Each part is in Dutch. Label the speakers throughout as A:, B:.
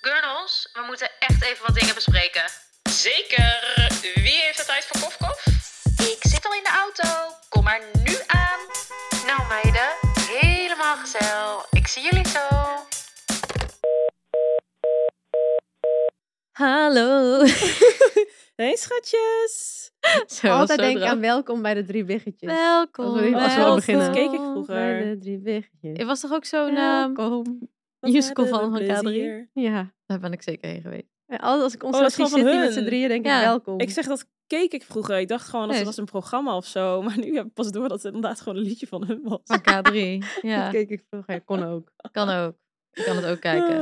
A: Jos, we moeten echt even wat dingen bespreken.
B: Zeker. Wie heeft de tijd voor kofkof?
A: Ik zit al in de auto. Kom maar nu aan. Nou meiden, helemaal gezellig. Ik zie jullie zo.
C: Hallo.
D: Hey schatjes!
C: Zo,
E: Altijd
C: zo
E: denk ik
C: druk.
E: aan welkom bij de drie biggetjes.
C: Welkom.
E: Als we- als we al beginnen.
D: Dat keek ik vroeger.
E: Bij de drie biggetjes.
C: Er was toch ook zo'n... ehm,
E: Welkom.
C: musical
D: hebben
C: van
D: we
C: elkaar
D: plezier.
E: Ja.
C: daar ben ik zeker heen geweest.
E: En altijd als ik ons
D: Oh, dat is
E: zie
D: gewoon van
E: zitten met
D: hun.
E: z'n drieën, denk
C: Ja.
E: ik welkom.
D: Ik zeg dat keek ik vroeger. Ik dacht gewoon dat
C: Nee,
D: het
C: is-
D: was een programma of zo. Maar nu heb ik pas door dat het inderdaad gewoon een liedje van hun was.
C: Van K3.
E: Dat
C: ja,
E: keek ik vroeger. Kon ook.
C: kan ook. Je kan het ook
E: Ah.
C: kijken.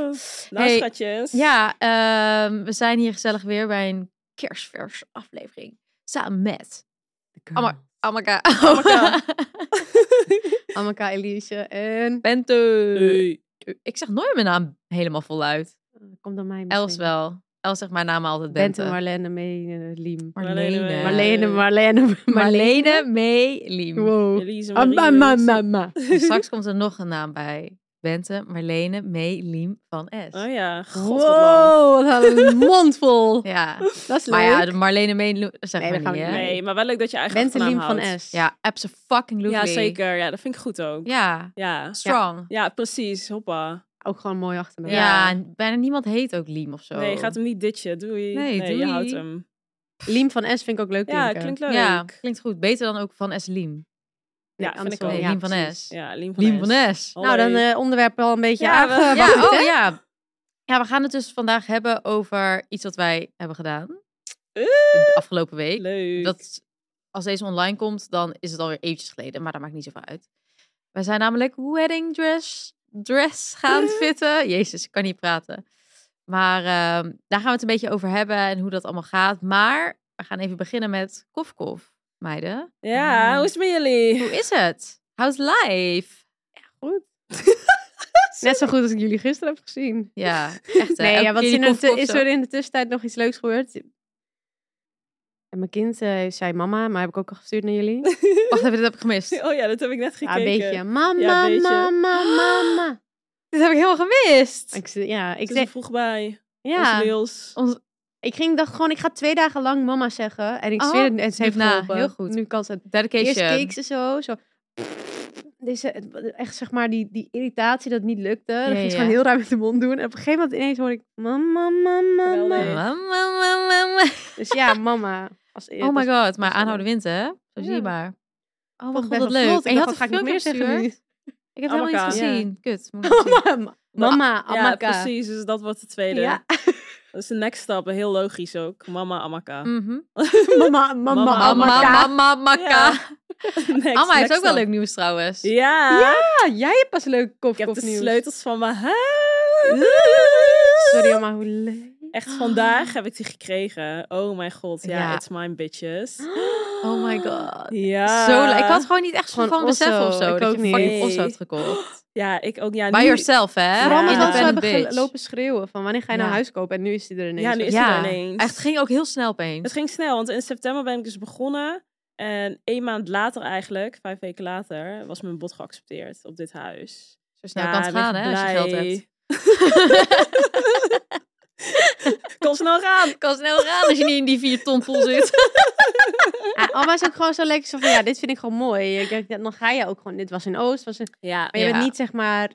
D: Nou
C: Hey,
D: schatjes.
C: Ja, ehm, we zijn hier gezellig weer bij een kerstvers aflevering. Samen met Amma- Amaka.
D: Amaka.
E: Amaka, Elise en...
C: Bento.
D: Hey.
C: Ik zeg nooit mijn naam helemaal voluit.
E: Ah, Komt dan mij misschien.
C: Els wel. Els zegt mijn naam altijd
E: Bente,
C: Bente.
E: Marlene, mee, eh, Liem.
C: Marlene.
D: Marlene.
E: Marlene, Marlene,
C: Marlene mee Liem.
E: Wow.
D: Elise
E: Ah,
D: Marie
E: ma, ma,
D: Louise.
E: ma, ma.
C: En Straks komt er nog een naam bij. Bente Marlene mee Liem van S.
D: Oh ja, god wat lang.
E: Wow, wat een mond vol.
C: Ja,
E: Dat is leuk.
C: maar ja, de Marlene Meen zeg
E: Nee,
C: maar
E: we gaan
C: niet, hè?
E: niet
D: Nee, maar wel leuk dat je eigen
E: Bente
D: achternaam
E: Liem van
D: houdt.
E: S.
C: Ja, fucking
D: Ja, zeker. Ja, dat vind ik goed ook.
C: Ja,
D: Ja,
C: strong.
D: ja precies. Hoppa.
E: Ook gewoon mooi
C: Ja.
E: achternaam.
C: en bijna niemand heet ook Liem of zo.
D: Nee, je gaat hem niet ditchen. Doei.
C: Nee,
D: je
C: doei.
D: houdt hem.
E: Liem van S vind ik ook leuk
D: Ja,
E: klinken.
D: klinkt leuk.
C: Ja, klinkt goed. Beter dan ook van S. Liem.
D: Ja,
E: Nee,
D: vind ik
E: andersom.
D: ook.
C: Nee,
E: Oh, Ja,
C: Liem van
E: precies.
C: S.
D: Ja, Liem van
C: Liem
D: S.
C: van S.
E: Nou, dan
D: Hoi.
E: eh onderwerp al een beetje
D: Ja,
E: ja,
D: we-
C: Ja, oh ja. Ja, we gaan het dus vandaag hebben over iets wat wij hebben gedaan de afgelopen week.
D: Leuk.
C: Dat, als deze online komt, dan is het alweer eventjes geleden, maar dat maakt niet zoveel uit. Wij zijn namelijk wedding dress, dress gaan fitten. Jezus, ik kan niet praten. Maar ehm, daar gaan we het een beetje over hebben en hoe dat allemaal gaat. Maar we gaan even beginnen met kof kof, meiden.
D: Ja, hoe is het met jullie?
C: Hoe is het? How's life?
E: Net zo goed als ik jullie gisteren heb gezien.
C: Ja, echt hè?
E: Nee, ja,
C: eh, Elke
E: wat
C: keer
E: is,
C: die
E: in de
C: kof
E: tu-
C: kof
E: is
C: zo.
E: er in de tussentijd nog iets leuks gebeurd? En mijn kind eh, zei mama, maar heb ik ook al gestuurd naar jullie.
C: Wacht even, dit heb ik gemist.
D: Oh ja, dat heb ik net gekeken.
E: Ja, een beetje. Mama,
D: Ja, een beetje.
E: mama, mama.
C: Dit heb ik helemaal gemist.
E: Ik, ze- ja, ik
D: Ik zeg
E: zeg,
D: vroeg bij. Ja.
E: ja.
D: Leels.
E: Ik ging, dacht gewoon, ik ga twee dagen lang mama zeggen. En ik
C: Oh,
E: zweer het, en ze heeft
C: doe het na.
E: geholpen.
C: Heel goed.
E: Nu kan ze het.
C: Dedication.
E: Eerst keek ze zo, zo. Dus eh, echt zeg maar die, die irritatie dat het niet lukte. Dan
C: Ja,
E: ging
C: ja.
E: ze gewoon heel ruim met de mond doen. En op een gegeven moment ineens hoor ik mama, mama,
D: Geweldig.
E: mama.
C: Mama, mama, mama.
E: Dus ja, mama. Als,
C: Oh my god, maar
E: wel
C: aanhouden wind, hè? Zo zie je
E: Ja.
C: maar. Oh
E: Vond
C: mijn
E: ik
C: god,
E: best
C: wat
E: wel
C: leuk.
E: vlot.
C: En
E: Ik
C: je
E: dacht,
C: had
E: wat ga
C: een
E: ik nog
C: filmpje
E: meer zeggen
C: gestuurd.
E: nu?
C: Ik heb het helemaal niet
D: Amaka.
E: Ja.
C: gezien. Kut. moet ik nog zien.
E: Mama,
D: Ja,
E: amaka.
D: precies. Dus dat wordt de tweede.
E: Ja.
D: Dat is de next stap. Heel logisch ook. Mama Amaka.
C: Mhm.
E: Mama, mama,
D: Mama,
C: Mama,
E: amaka.
C: mama, maka.
D: Ja. Next,
C: Amma heeft
D: next
C: ook wel
D: stap.
C: leuk nieuws trouwens.
D: Ja.
E: Ja, ah, jij hebt pas leuk
D: Ik heb de
E: kopkopnieuws.
D: sleutels van mijn huis.
E: Sorry, maar hoe leuk.
D: Echt vandaag heb ik die gekregen. Oh mijn god. Ja,
C: Ja.
D: it's mine bitches.
C: Oh my god.
D: Ja.
C: Zo, le- ik had gewoon niet echt
E: Gewoon
C: van besef
E: Osso.
C: of zo.
E: Ik
C: dat
E: ook
C: je
E: niet.
C: fucking
D: Nee.
C: Osso had gekocht.
D: Ja, ik ook. Ja,
C: By
D: nu-
C: yourself, hè?
D: Ja.
E: Vooral omdat
D: Independent
E: ze hebben
C: bitch.
E: gel- lopen schreeuwen van wanneer ga je nou
C: Ja.
E: huis kopen en nu is hij er ineens.
D: Ja, nu is het
C: Ja.
D: er ineens.
C: Echt, het ging ook heel snel
D: Het
C: opeens.
D: ging snel, want in september ben ik dus begonnen. En één maand later eigenlijk, vijf weken later, was mijn bod geaccepteerd op dit huis.
C: Zo snel kan het
D: ik ben
C: gaan, hè? Als je geld
D: blij.
C: hebt.
D: Kom snel gaan!
C: kan snel gaan als je niet in die vier ton pool zit.
E: Ja, Alma is ook gewoon zo lekker zo van ja, dit vind ik gewoon mooi. Ik denk, dan ga je ook gewoon, dit was in Oost. Was in,
D: Ja,
E: maar je
C: Ja.
E: bent niet zeg maar,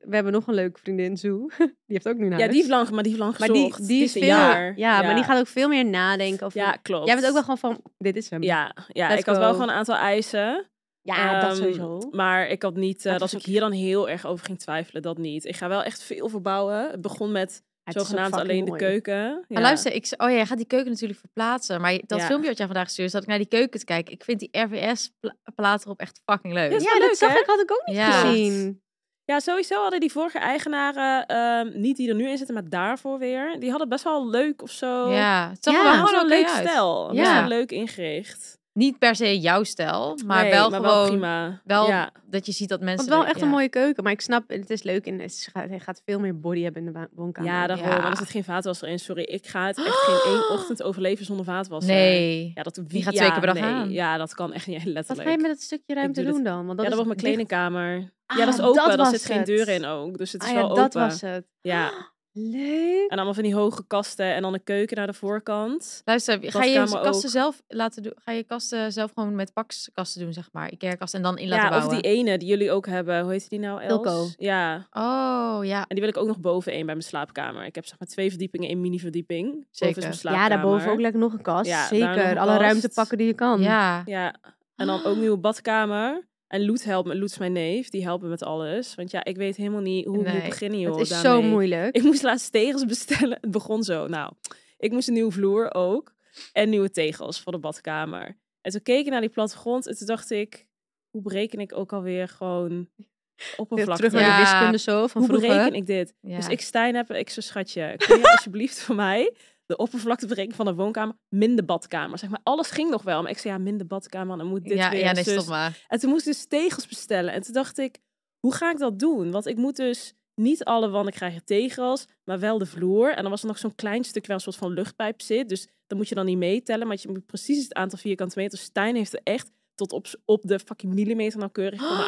E: we hebben nog een leuke vriendin, Zoe. Die heeft ook nu een huis.
D: ja die heeft lang, maar die heeft lang
E: maar
D: gezocht.
E: die, die, is
D: een
E: veel, ja,
D: jaar.
E: maar die gaat ook veel meer nadenken. Of
D: Ja, klopt.
E: Jij bent ook wel gewoon van, dit is hem.
D: Ja, ja
E: Let's
D: ik had wel
E: go.
D: gewoon een aantal eisen.
E: Ja, dat
D: Ehm,
E: sowieso.
D: Maar ik had niet, eh,
E: Maar
D: dat
E: toch
D: ik hier dan heel erg over ging twijfelen, dat niet. Ik ga wel echt veel verbouwen. Het begon met
E: Het is ook
D: zogenaamd
E: fucking
D: alleen
E: mooi.
D: de keuken. Ja.
C: Maar luister, ik, z- oh ja, je gaat die keuken natuurlijk verplaatsen. Maar je- dat
D: Ja.
C: filmpje wat jij vandaag stuurde, zat ik naar die keuken te kijken. Ik vind die RVS-plaat erop echt fucking leuk.
D: Ja, is
E: Ja,
D: wel
E: dat
D: leuk,
E: zag
D: hè?
E: ik, had ik ook niet
C: Ja.
E: gezien.
D: Ja, sowieso hadden die vorige eigenaren, ehm, niet die er nu in zitten, maar daarvoor weer, die hadden best wel leuk of zo.
C: Ja, het zag er
E: Ja,
C: wel
D: Gewoon
C: gewoon
D: een leuk
C: uit.
D: stijl.
C: Ja.
D: Best wel leuk ingericht.
C: Niet per se jouw stijl, maar
D: Nee,
C: wel gewoon wel,
D: prima. ja.
C: dat je ziet dat mensen...
E: Want wel
C: er-
E: echt
C: ja.
E: een mooie keuken. Maar ik snap, het is leuk. En het is- hij gaat veel meer body hebben in de wa- woonkamer.
D: Ja, daarom.
C: Ja.
D: Maar er zit geen vaatwasser in. Sorry, ik ga het echt geen één ochtend overleven zonder vaatwasser.
C: Nee.
D: Ja, dat
C: Die gaat
D: ja,
C: twee keer per dag
D: nee.
C: aan.
D: Ja, dat kan echt niet letterlijk.
E: Wat ga je met dat stukje ruimte
D: doe
E: doen
D: dit-
E: dan? Want
D: ja, dat
E: is
D: wordt mijn
E: dicht-
D: kledingkamer.
E: Ah,
D: ja, dat is open.
E: dat
D: daar
E: was
D: zit geen
E: het.
D: deur in ook. Dus het is
E: Ah
D: wel
E: ja,
D: open.
E: dat was het.
D: Ja.
E: Leuk.
D: En allemaal van die hoge kasten en dan een keuken naar de voorkant.
C: Luister, ga je je
D: Badkamer
C: kasten
D: ook.
C: zelf laten doen? Ga je kasten zelf gewoon met pakskasten doen, zeg maar? Ikea-kasten en dan in laten
D: ja, of
C: bouwen?
D: die ene die jullie ook hebben. Hoe heet die nou? Els?
E: Wilco.
D: Ja.
C: Oh, ja.
D: En die wil ik ook nog boven één bij mijn slaapkamer. Ik heb zeg maar twee verdiepingen, één mini-verdieping. boven is
C: Zeker.
D: mijn
E: Ja,
D: slaapkamer.
E: daarboven ook lekker nog een kast.
D: Ja, daar nog
E: Zeker.
D: een
E: Alle
D: kast.
E: ruimte pakken die je kan.
C: Ja.
D: Ja. En dan
E: Ah.
D: ook nieuwe badkamer. En Loet helpt me. Loet is mijn neef. Die helpt me met alles. Want ja, ik weet helemaal niet hoe ik
C: Nee,
D: moet beginnen, joh.
E: Het is zo
D: daarmee.
E: moeilijk.
D: Ik moest laatst tegels bestellen. Het begon zo. Nou, ik moest een nieuwe vloer ook. En nieuwe tegels voor de badkamer. En toen keek ik naar die plattegrond. En toen dacht ik, hoe bereken ik ook alweer gewoon
E: Weer
D: oppervlakte?
E: Terug naar de
C: Ja.
E: wiskunde zo van
D: Hoe bereken
E: vroeger.
D: ik dit?
C: ja.
D: Dus ik Stijn heb, ik zo schatje, kun je alsjeblieft voor mij de oppervlakte berekenen van de woonkamer, minder badkamer. Zeg maar, alles ging nog wel, maar ik zei ja, minder badkamer, dan moet dit
C: ja,
D: weer.
C: ja, nee,
D: zus.
C: stop maar.
D: En toen moest ik dus tegels bestellen. En toen dacht ik, hoe ga ik dat doen? Want ik moet dus niet alle wanden krijgen tegels, maar wel de vloer. En dan was er nog zo'n klein stuk wel een soort van luchtpijp zit. Dus dat moet je dan niet meetellen, maar je moet precies het aantal vierkante meter. Stijn heeft er echt tot op, op de fucking millimeter nauwkeurig voor me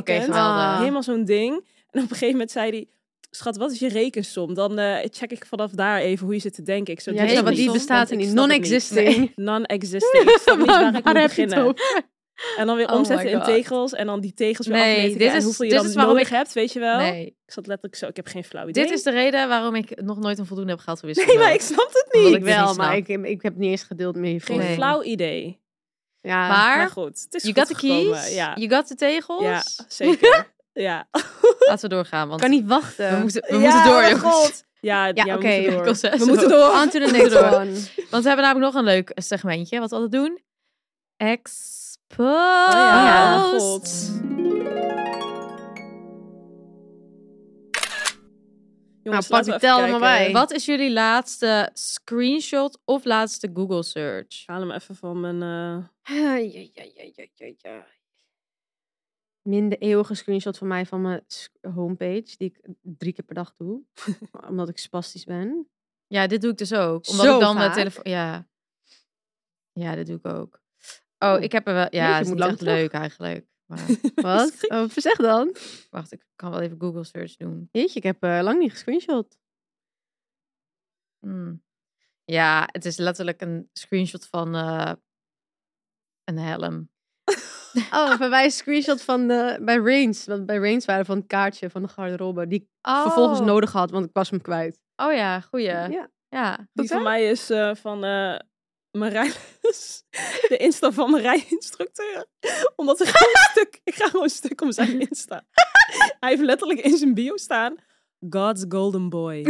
C: Oké,
E: Ah.
C: geweldig.
D: Helemaal zo'n ding. En op een gegeven moment zei hij... Schat, wat is je rekensom? Dan eh, check ik vanaf daar even hoe je zit te denken. Ik dus zo,
E: Ja,
D: dit
E: ik
D: is
E: snap, want die
D: gezond,
E: bestaat er
D: want ik
E: niet.
D: snap het
E: Non-existing.
D: Non-existing. Ik snap niet waar ik moet
E: heb je het
D: beginnen.
E: over?
D: En dan weer
C: Oh
D: omzetten
C: my
D: in
C: God.
D: tegels. En dan die tegels weer
C: Nee,
D: afmeten.
C: dit
D: en
C: is-
D: hoeveel je
C: dit
D: dan
C: is waarom
D: nodig
C: ik-
D: hebt, weet je wel.
C: Nee.
D: Ik zat letterlijk zo, ik heb geen flauw idee.
C: Dit is de reden waarom ik nog nooit een voldoende heb gehaald voor wiskunde.
D: Nee, maar ik snap het
C: Omdat
D: niet.
C: ik
E: Ik
C: dit
E: wel,
C: niet
E: maar ik,
C: snap.
E: ik heb niet eens geduld meer
D: Geen
E: voor.
C: Nee.
D: flauw idee.
E: Ja.
D: Maar
C: Maar,
D: goed, het is
C: you
D: goed
C: got the
D: gekomen.
C: keys,
D: Ja,
C: you got the tegels.
D: ja zeker. ja.
C: Laten we doorgaan, want
E: kan niet
C: we
E: wachten.
C: moeten, we
D: Ja, oh
C: moeten door,
D: mijn
C: jongens.
D: God. Ja, ja, we
E: oké. Nou,
D: moeten door.
C: Ik was, eh,
D: We
C: zo-
D: moeten door.
E: On to the
C: moeten
E: next
C: door.
E: one.
C: Want we hebben namelijk nog een leuk segmentje, wat we altijd doen. Exposed.
D: Oh ja, god.
E: Nou,
D: Jongens,
E: pak
D: laten
E: die
D: we
E: tel
D: even
E: er maar
D: kijken.
E: bij.
C: Wat is jullie laatste screenshot of laatste Google search?
D: Ik haal hem even van mijn... eh,
E: Ja, ja, ja, ja, ja, ja. Minder eeuwige screenshot van mij van mijn sc- homepage, die ik eh, drie keer per dag doe, omdat ik spastisch ben.
C: Ja, dit doe ik dus ook. Omdat
E: Zo
C: ik dan mijn
E: vaak?
C: telefoon. Ja. ja, dit doe ik ook. Oh,
E: Oeh.
C: ik heb er wel. Ja,
E: Jeetje,
C: het is
E: moet
C: niet
E: lang
C: echt
E: terug.
C: leuk eigenlijk. Maar
E: Wat? Oh, zeg dan.
C: wacht, ik kan wel even Google search doen.
E: Jeetje, ik heb eh, lang niet gescreenshot.
C: Hmm. Ja, het is letterlijk een screenshot van eh, een helm.
E: Oh, bij mij een screenshot van de, bij Reigns, want bij Reigns waren van het kaartje van de garderobe, die ik
C: Oh.
E: vervolgens nodig had, want ik was hem kwijt.
C: Oh ja, goeie. Ja.
E: Ja.
D: Die
E: Wat, hè?
D: van mij is eh, van eh Marijn. De Insta van Marijn instructeur. Omdat ik gewoon stuk. Ik ga gewoon stuk om zijn Insta. Hij heeft letterlijk in zijn bio staan. God's Golden Boy.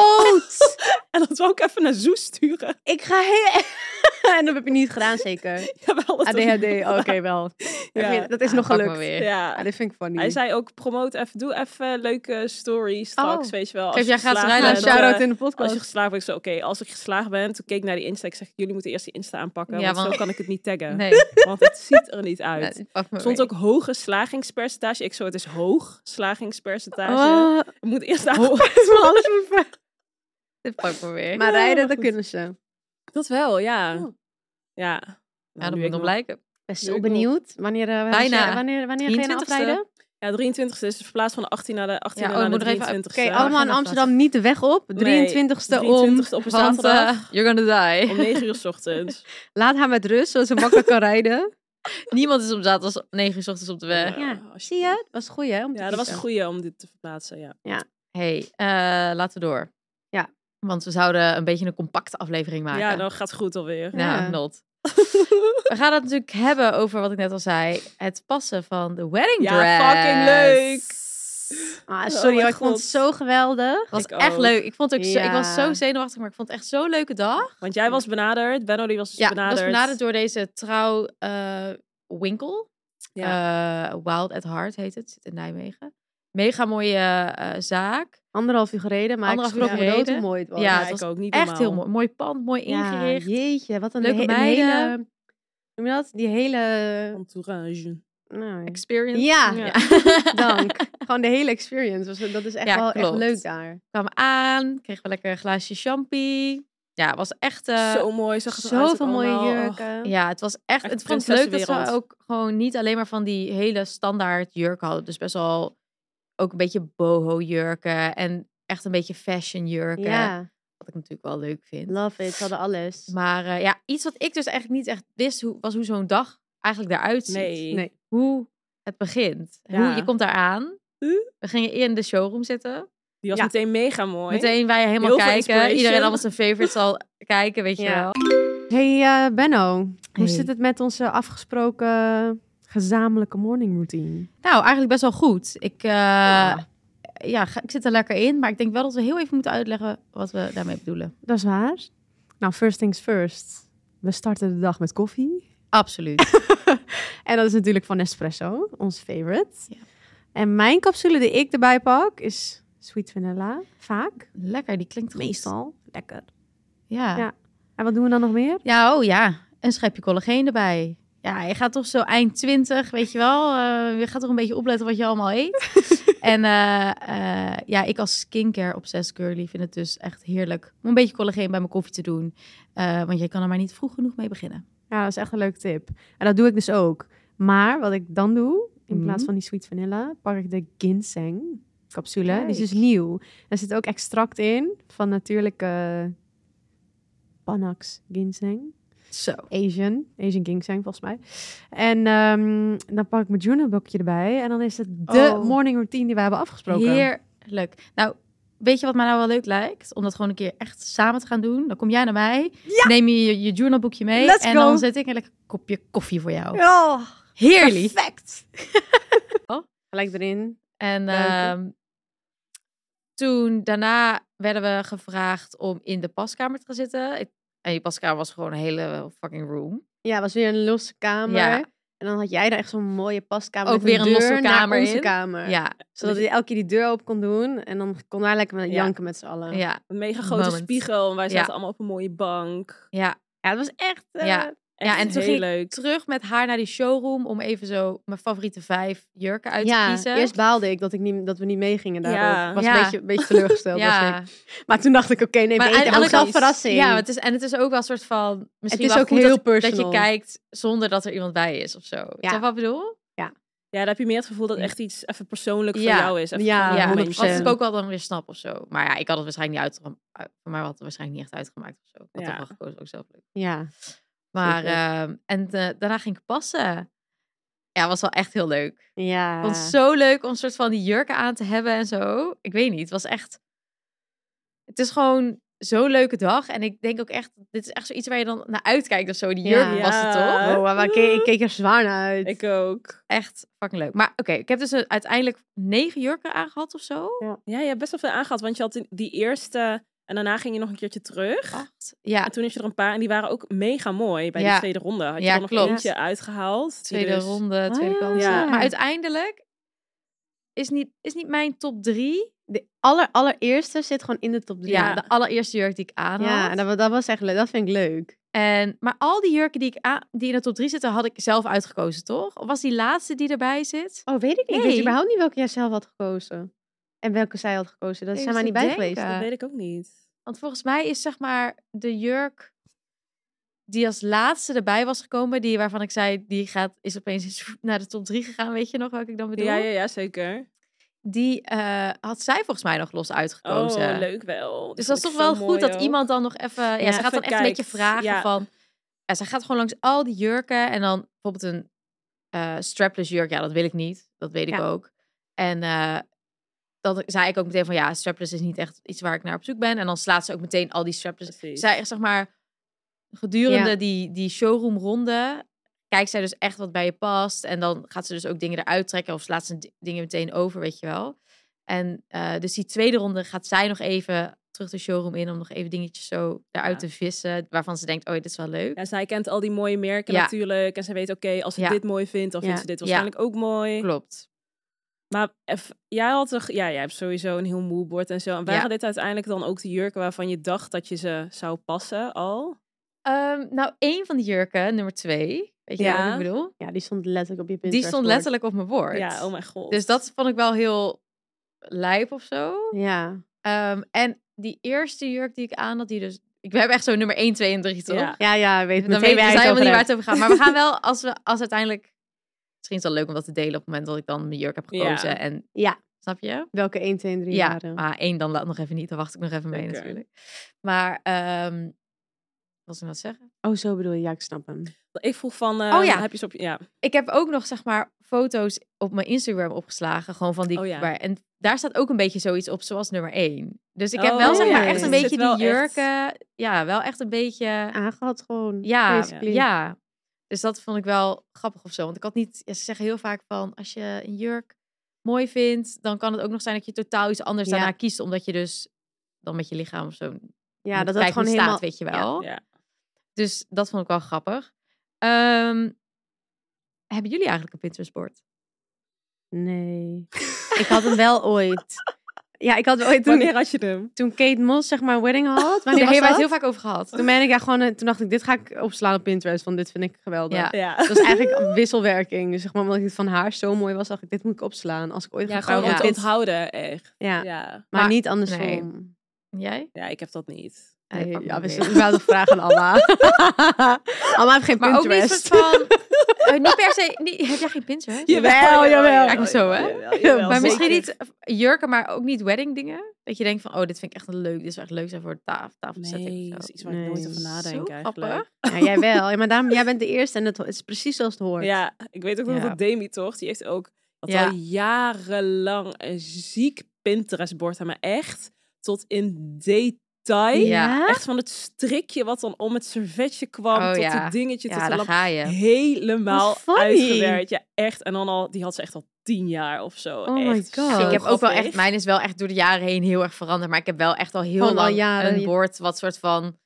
E: Dood!
D: En dat wou ik even naar Zoes sturen.
E: ik ga heel... en dat heb je niet gedaan, zeker.
D: Jawel, dat
E: ADHD, oké, wel.
D: Ja.
E: Heb je- Dat is nog
C: Ah, pak maar
E: gelukt.
C: weer.
E: Ja,
D: Ja.
E: dit vind ik funny.
D: Hij zei ook, promote even, doe even leuke stories straks,
C: Oh.
D: weet je wel. als
C: Geef
D: je
C: jij gratis
D: geslaagd
E: Ja,
C: rijles,
D: bent, dan,
E: shout-out
D: eh,
E: in de
D: Als
E: podcast.
D: je geslaagd bent, ik zo, oké, als ik geslaagd ben, toen keek ik naar die Insta, ik zeg, jullie moeten eerst die Insta aanpakken,
C: Ja,
D: want,
C: want-
D: zo kan ik het niet taggen.
C: Nee,
D: Want het ziet er niet uit.
C: nee, pak maar
D: Er stond
C: weer.
D: ook hoge slagingspercentage. Ik zo, het is hoog slagingspercentage.
E: Oh,
D: Ik moet eerst daar...
E: alles moet ver-
C: Dit pak maar weer.
E: Maar
D: Ja,
E: rijden,
D: maar
E: dat
D: goed.
E: kunnen ze.
D: Dat wel, ja.
E: Oh.
D: Ja.
C: ja,
D: Nou,
C: dat moet
D: nu ik
C: nog
D: nog-
C: blijken.
E: Best
D: Nu
E: zo
D: ik
E: benieuwd. Wanneer, eh, wanneer-
C: Bijna.
E: wanneer, wanneer ga je naar
D: 23e.
E: afrijden?
D: Ja, 23 is dus verplaatst van de 18 naar de 18
C: Ja, oh,
D: naar
C: ik
D: de
C: moet er even-
D: 23
E: Oké, allemaal in
C: gaan
E: Amsterdam niet de weg op. 23e om.
D: 23 op een
C: Want
D: zaterdag.
C: eh, you're gonna die.
D: om 9 uur 's ochtends.
E: Laat haar met rust, zodat ze makkelijk kan rijden.
C: Niemand is op zaterdag 9 uur 's ochtends op de weg.
E: Ja,
D: als
E: Zie je? Dat was goed, hè? om te
D: Ja, dat was een
E: kiezen.
D: goeie om dit te verplaatsen, ja.
C: hey, eh, laten we door.
E: Ja.
C: Want we zouden een beetje een compacte aflevering maken.
D: Ja, dat gaat goed alweer.
C: Nou,
E: Ja.
C: not. We gaan het natuurlijk hebben over wat ik net al zei. Het passen van de wedding
D: Ja,
C: dress.
D: fucking leuk.
E: Ah,
D: Oh
E: sorry,
D: mijn
E: hoor, ik vond het
D: God.
E: zo geweldig.
C: was
D: Ik
C: echt
D: ook.
C: leuk. Ik, vond het ook zo, ik was
E: Ja.
C: zo zenuwachtig, maar ik vond het echt zo'n leuke dag.
D: Want jij was benaderd. Benno die was dus
C: Ja, ik
D: benaderd.
C: was benaderd door deze trouw eh, winkel. Eh, Wild at Heart heet het. Zit in Nijmegen. Mega mooie eh, zaak.
E: Anderhalf uur gereden, maar
C: Anderhalf
E: ik
C: uur
E: schrok me dood hoe
C: gereden.
E: mooi het was.
C: Ja,
D: Ja,
C: het
D: ik
C: was
D: ook niet
C: Echt
D: normaal.
C: heel mooi. Mooi pand, mooi
E: Ja,
C: ingericht.
E: jeetje, wat een,
C: Leuke
E: he- een
C: meiden.
E: hele... Hoe noem je dat? Die hele...
D: Entourage.
E: Nou,
C: Experience.
E: Ja.
D: Ja.
E: dank. Gewoon de hele experience. was- Dat is echt
C: Ja,
E: wel echt
C: klopt.
E: leuk daar.
C: kwam aan, kregen we lekker een glaasje champie. Ja, het was echt. eh,
D: zo mooi zag het eruit Oh,
E: Zoveel mooie
D: allemaal. Och.
E: jurken.
C: ja, het was echt.
D: Echt
C: het vond ik leuk dat ze
D: prinsessenwereld.
C: ook gewoon niet alleen maar van die hele standaard jurken hadden. Dus best wel ook een beetje boho jurken en echt een beetje fashion jurken.
E: Ja,
C: Wat ik natuurlijk wel leuk vind.
E: love it. Ze hadden alles.
C: Maar eh, ja, iets wat ik dus eigenlijk niet echt wist, hoe, was hoe zo'n dag eigenlijk eruit ziet.
D: Nee.
E: Nee.
C: Hoe het begint.
D: Ja.
C: Hoe, je komt daar aan.
D: Huh?
C: We gingen in de showroom zitten.
D: Die was
E: Ja.
D: meteen mega mooi.
C: Meteen wij helemaal
D: Heel veel
C: kijken.
D: inspiration.
C: Iedereen allemaal zijn favorites al kijken, weet je
E: Ja.
C: wel.
E: Hey eh, Benno, hoe
C: Hey.
E: zit het met onze afgesproken gezamenlijke morning routine?
C: Nou, eigenlijk best wel goed. Ik, eh, ja.
E: Ja.
C: ga- ik zit er lekker in, maar ik denk wel dat we heel even moeten uitleggen wat we daarmee bedoelen.
E: Dat is waar. Nou, first things first. We starten de dag met koffie.
C: Absoluut.
E: En dat is natuurlijk van Nespresso, ons favorite.
C: Ja.
E: En mijn capsule die ik erbij pak is sweet vanilla. Vaak.
C: lekker, die klinkt goed.
E: Meestal. Lekker.
C: Ja. ja.
E: Ja. En wat doen we dan nog meer?
C: oh ja. Een schepje collageen erbij. Ja, je gaat toch zo eind twintig, weet je wel. eh, je gaat toch een beetje opletten wat je allemaal eet. en eh, eh, ja, ik als skincare obsessed girly vind het dus echt heerlijk om een beetje collageen bij mijn koffie te doen. Eh, want je kan er maar niet vroeg genoeg mee beginnen.
E: Ja, dat is echt een leuke tip. En dat doe ik dus ook. Maar wat ik dan doe, in
C: Mhm.
E: plaats van die sweet vanilla, pak ik de ginseng capsule. Die is dus
C: Kijk.
E: nieuw. Er zit ook extract in van natuurlijke Panax ginseng.
C: Zo.
E: Asian, Asian ginseng volgens mij. En ehm, dan pak ik mijn Junebokje erbij. En dan is het de
C: Oh.
E: morning routine die we hebben afgesproken.
C: Heerlijk. Nou, weet je wat mij nou wel leuk lijkt? Om dat gewoon een keer echt samen te gaan doen. Dan kom jij naar mij, neem je je, je journalboekje mee
E: Let's
C: en
E: go.
C: dan zet ik een lekker kopje koffie voor jou.
E: Oh,
C: Heerlijk.
E: perfect. Gelijk erin.
C: En
E: Leuk, hè?
C: ehm, toen daarna werden we gevraagd om in de paskamer te gaan zitten. Ik- en die paskamer was gewoon een hele fucking room.
E: Ja, was weer een losse kamer.
C: Ja.
E: En dan had jij daar echt zo'n mooie paskamer.
C: Ook
E: met
C: weer een
E: deur
C: losse
E: naar
C: kamer
E: onze
C: in.
E: kamer.
C: Ja,
E: Zodat hij elke keer die deur open kon doen. En dan kon hij lekker met
D: Ja.
E: janken met z'n allen.
C: ja,
D: Een mega grote
C: Moment.
D: spiegel. En wij zaten
C: Ja.
D: allemaal op een mooie bank.
C: ja.
E: Ja, het was echt... eh,
C: Ja.
D: Echt
C: en toen
D: heel
C: ging-
D: leuk.
C: Terug met haar naar die showroom om even zo mijn favoriete vijf jurken uit te
E: ja,
C: kiezen.
E: eerst baalde ik dat, ik niet, dat we niet meegingen daarop.
D: Ja.
E: Ik was
C: Ja.
E: een beetje, een beetje teleurgesteld. was
C: ja.
E: ik. Maar toen dacht ik, oké, nee,
C: Maar
E: maar beter.
C: uiteindelijk
E: Ook wel
D: is-
E: verrassing.
C: Ja, maar het is, en het is ook wel een soort van. Misschien
E: is
C: wel
E: ook
C: goed
E: heel
C: dat, Dat
E: personal.
C: je kijkt zonder dat er iemand bij is of zo. Ja.
E: Ja.
C: wat ik bedoel?
D: Ja, dan heb je meer het gevoel dat echt iets even persoonlijk voor
C: Ja.
D: jou is. Even
E: Ja,
D: gewoon een
C: ja,
D: momentje.
C: Wat
E: 100%.
C: ik ook wel dan weer snap of zo. Maar ja, ik had het waarschijnlijk niet uitgemaakt. Voor mij had het waarschijnlijk niet echt uitgemaakt of zo. Ik had
D: Ja.
C: toch wel gekozen, ook zelf leuk.
E: Ja.
C: Maar,
E: Zeker.
C: ehm, en eh, daarna ging ik passen. Ja, was wel echt heel leuk. Ik
E: Ja.
C: vond het zo leuk om een soort van die jurken aan te hebben en zo. Ik weet niet, het was echt... Het is gewoon zo'n leuke dag. En ik denk ook echt, dit is echt zoiets waar je dan naar uitkijkt of zo. Die
E: Ja.
C: jurken was het toch?
D: Ja.
E: Oh, maar ik keek, ik keek er zwaar naar uit.
D: Ik ook.
C: Echt fucking leuk. Maar oké, ik heb dus een- uiteindelijk negen jurken aangehad of zo.
D: Ja, je hebt best wel veel aangehad, want je had die- die eerste en daarna ging je nog een keertje terug.
C: Acht. Ja,
D: En toen is je er een paar en die waren ook mega mooi bij
C: Ja.
D: de tweede ronde. Had je
C: Ja,
D: er nog
C: klopt.
D: eentje uitgehaald. die
C: tweede
D: dus-
C: ronde,
E: Ah,
C: tweede
E: ja.
C: kans.
D: Ja.
C: Maar uiteindelijk is niet, is niet mijn top drie.
E: De aller, allereerste zit gewoon in de top drie.
C: Ja, de allereerste jurk die ik aan had.
E: ja en dat, wa- dat was echt leuk. Dat vind ik leuk.
C: En, maar al die jurken die, ik aan, die in de top drie zitten, had ik zelf uitgekozen, toch? Of was die laatste die erbij zit?
E: Oh, weet ik niet. Ik
C: Nee.
E: weet überhaupt niet welke jij zelf had gekozen. En welke zij had gekozen. Dat
C: Even te
E: zijn wij niet bij
C: denken.
E: geweest.
D: Dat weet ik ook niet.
C: Want volgens mij is zeg maar de jurk die als laatste erbij was gekomen, die waarvan ik zei, die gaat, is opeens naar de top drie gegaan, weet je nog welke ik dan bedoel?
D: Ja, ja, ja, zeker.
C: die eh, had zij volgens mij nog los
D: Oh,
C: uitgekozen.
D: leuk wel.
C: Dus dat is
D: vond
C: toch wel
D: ik zo
C: goed
D: mooi
C: dat
D: ook.
C: iemand dan nog even... Ja,
D: Ja,
C: ze gaat dan
D: even
C: echt een beetje
D: kijkt.
C: vragen
D: Ja.
C: van... Ja, ze gaat gewoon langs al die jurken en dan bijvoorbeeld een eh, strapless jurk. Ja, dat wil ik niet. Dat weet ik
E: Ja.
C: ook. En eh dan zei ik ook meteen van... Ja, strapless is niet echt iets waar ik naar op zoek ben. En dan slaat ze ook meteen al die strapless...
D: Precies.
C: Zij echt, zeg maar, gedurende
E: Ja.
C: die, die showroom ronde... Kijkt zij dus echt wat bij je past. En dan gaat ze dus ook dingen eruit trekken. Of slaat ze di- dingen meteen over, weet je wel. En eh, dus die tweede ronde gaat zij nog even terug de showroom in om nog even dingetjes zo daaruit
D: Ja.
C: te vissen. Waarvan ze denkt, oh, dit is wel leuk.
D: Ja, zij kent al die mooie merken
C: Ja.
D: natuurlijk. En ze weet, oké, als ze
C: Ja.
D: dit mooi vindt, dan vindt
E: Ja.
D: ze dit
C: Ja.
D: waarschijnlijk ook mooi.
C: Klopt.
D: Maar eff- jij had toch, ja, jij hebt sowieso een heel moodboard en zo. En waren
C: Ja.
D: dit uiteindelijk dan ook de jurken waarvan je dacht dat je ze zou passen al?
C: Ehm, nou, één van die jurken, nummer twee, weet je
D: Ja.
C: wat ik bedoel?
E: Ja, die stond letterlijk op je Pinterest
C: Die stond
E: board.
C: letterlijk op mijn woord.
D: Ja, oh mijn god.
C: dus dat vond ik wel heel lijp of zo.
E: Ja.
C: Ehm, en die eerste jurk die ik aan had, die dus... Ik, we hebben echt zo nummer 1, 2 en 3, toch?
D: Ja.
E: Ja, ja, weet
C: Dan
E: meteen
C: weet
E: waar
C: we
E: je het
C: helemaal
E: over
C: niet waar
E: hebt.
C: het over gaat. Maar we gaan wel, als we als uiteindelijk... Misschien is het wel leuk om dat te delen op het moment dat ik dan mijn jurk heb
D: Ja.
C: gekozen. En
E: Ja.
C: Snap je?
E: Welke 1, 2 en 3
C: ja,
E: waren?
C: maar één dan laat nog even niet. Dan wacht ik nog even mee
D: Oké.
C: natuurlijk. Maar, ehm wat zou ik nou zeggen?
E: Oh, zo bedoel je. Ja, ik snap hem.
D: Ik vroeg van, eh,
C: Oh ja.
D: heb je ze op je... Ja,
C: Ik heb ook nog, zeg maar, foto's op mijn Instagram opgeslagen. Gewoon van die...
D: Oh ja.
C: waar- en daar staat ook een beetje zoiets op, zoals nummer één. Dus ik heb
D: Oh,
C: wel, zeg maar, echt
E: nice.
C: een
D: Zit
C: beetje
D: wel
C: die
D: echt-
C: jurken. Ja, wel echt een beetje...
E: Aangehad gewoon.
C: Ja,
E: basically.
C: ja. Dus dat vond ik wel grappig of zo. Want ik had niet... Ja, ze zeggen heel vaak van, als je een jurk mooi vindt... dan kan het ook nog zijn dat je totaal iets anders
E: Ja.
C: daarna kiest. Omdat je dus dan met je lichaam of zo...
E: Ja,
C: moet
E: dat dat
C: kijken
E: gewoon
C: hoe
E: helemaal...
C: staat, weet je wel.
D: ja.
C: Dus dat vond ik wel grappig. Ehm, hebben jullie eigenlijk een Pinterest-board?
E: Nee. ik had hem wel ooit. Ja, ik had hem ooit
D: Wanneer
E: toen,
D: had je hem?
E: toen Kate Moss zeg maar een wedding had.
C: Daar
E: Wanneer
C: hebben
E: was
C: wij het
E: dat?
C: heel vaak over gehad.
E: Toen ben ik ja, gewoon, eh, toen dacht ik, dit ga ik opslaan op Pinterest, want dit vind ik geweldig.
C: Ja.
D: Ja.
E: Dat was eigenlijk een wisselwerking. Dus zeg maar, omdat het van haar zo mooi was, dacht ik, dit moet ik opslaan. Als ik ooit
D: Ja,
E: ga
D: gewoon
E: trouwen.
D: om
C: Ja.
D: te
E: Ja.
D: onthouden, echt.
E: Ja.
D: Ja.
E: Maar,
C: Maar-
E: niet andersom.
C: nee. En Jij?
D: Ja, ik heb dat niet.
E: Nee,
C: pak
E: ja,
C: hem
E: we
C: weer.
E: zullen wel nog vragen aan Alma. Alma heeft geen
C: Maar ook niet
E: Pinterest.
C: soort van... eh, niet per se... Niet, heb jij geen Pinterest?
E: Jawel, jawel.
C: Eigenlijk zo, hè?
D: Jawel, jawel,
C: maar
D: zeker.
C: misschien niet jurken, maar ook niet weddingdingen. Dat je denkt van, oh, dit vind ik echt een leuk. Dit is echt leuk zijn voor de tafel. tafel
D: Nee, dat is iets waar
E: Nee.
D: ik nooit over nadenk eigenlijk.
C: grappig.
E: Ja, jij wel. Ja, maar daarom, jij bent de eerste en het ho- het is precies zoals het hoort.
D: Ja, ik weet ook nog
C: Ja.
D: dat Demi toch, die heeft ook had
C: Ja.
D: al jarenlang een ziek Pinterest-bord aan me. Echt tot in detail.
C: Ja.
D: Echt van het strikje wat dan om het servetje kwam,
C: Oh,
D: tot
C: ja.
D: het dingetje, tot
C: Ja,
D: de
C: daar
D: lamp.
C: ga je.
D: Helemaal
E: Wat funny.
D: uitgewerkt. Ja, echt. En dan al, die had ze echt al tien jaar of zo.
E: Oh my
D: Echt
E: God.
D: zo
C: Ik heb ook wel
D: grappig.
C: echt, mijn is wel echt door de jaren heen heel erg veranderd. Maar ik heb wel echt al heel
E: Gewoon al
C: lang
E: jaren.
C: een bord wat soort van...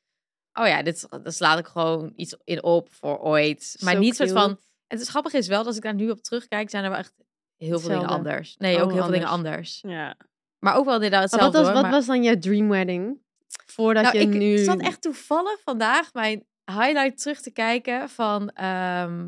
C: Oh ja, dit, daar slaat ik gewoon iets in op voor ooit. Maar
E: Zo
C: niet soort
E: cute.
C: van... Het is grappig is wel, dat als ik daar nu op terugkijk, zijn er wel echt heel veel dingen
E: Hetzelfde.
C: anders. Nee, ook
E: Oh,
C: heel veel dingen
E: anders.
C: anders.
D: Ja.
C: Maar ook wel inderdaad
E: Maar wat
C: hetzelfde
E: was,
C: hoor,
E: wat
C: maar-
E: was dan jouw dream wedding? Voordat
C: nou,
E: je
C: ik
E: nu...
C: zat echt toevallig vandaag mijn highlight terug te kijken van... ehm,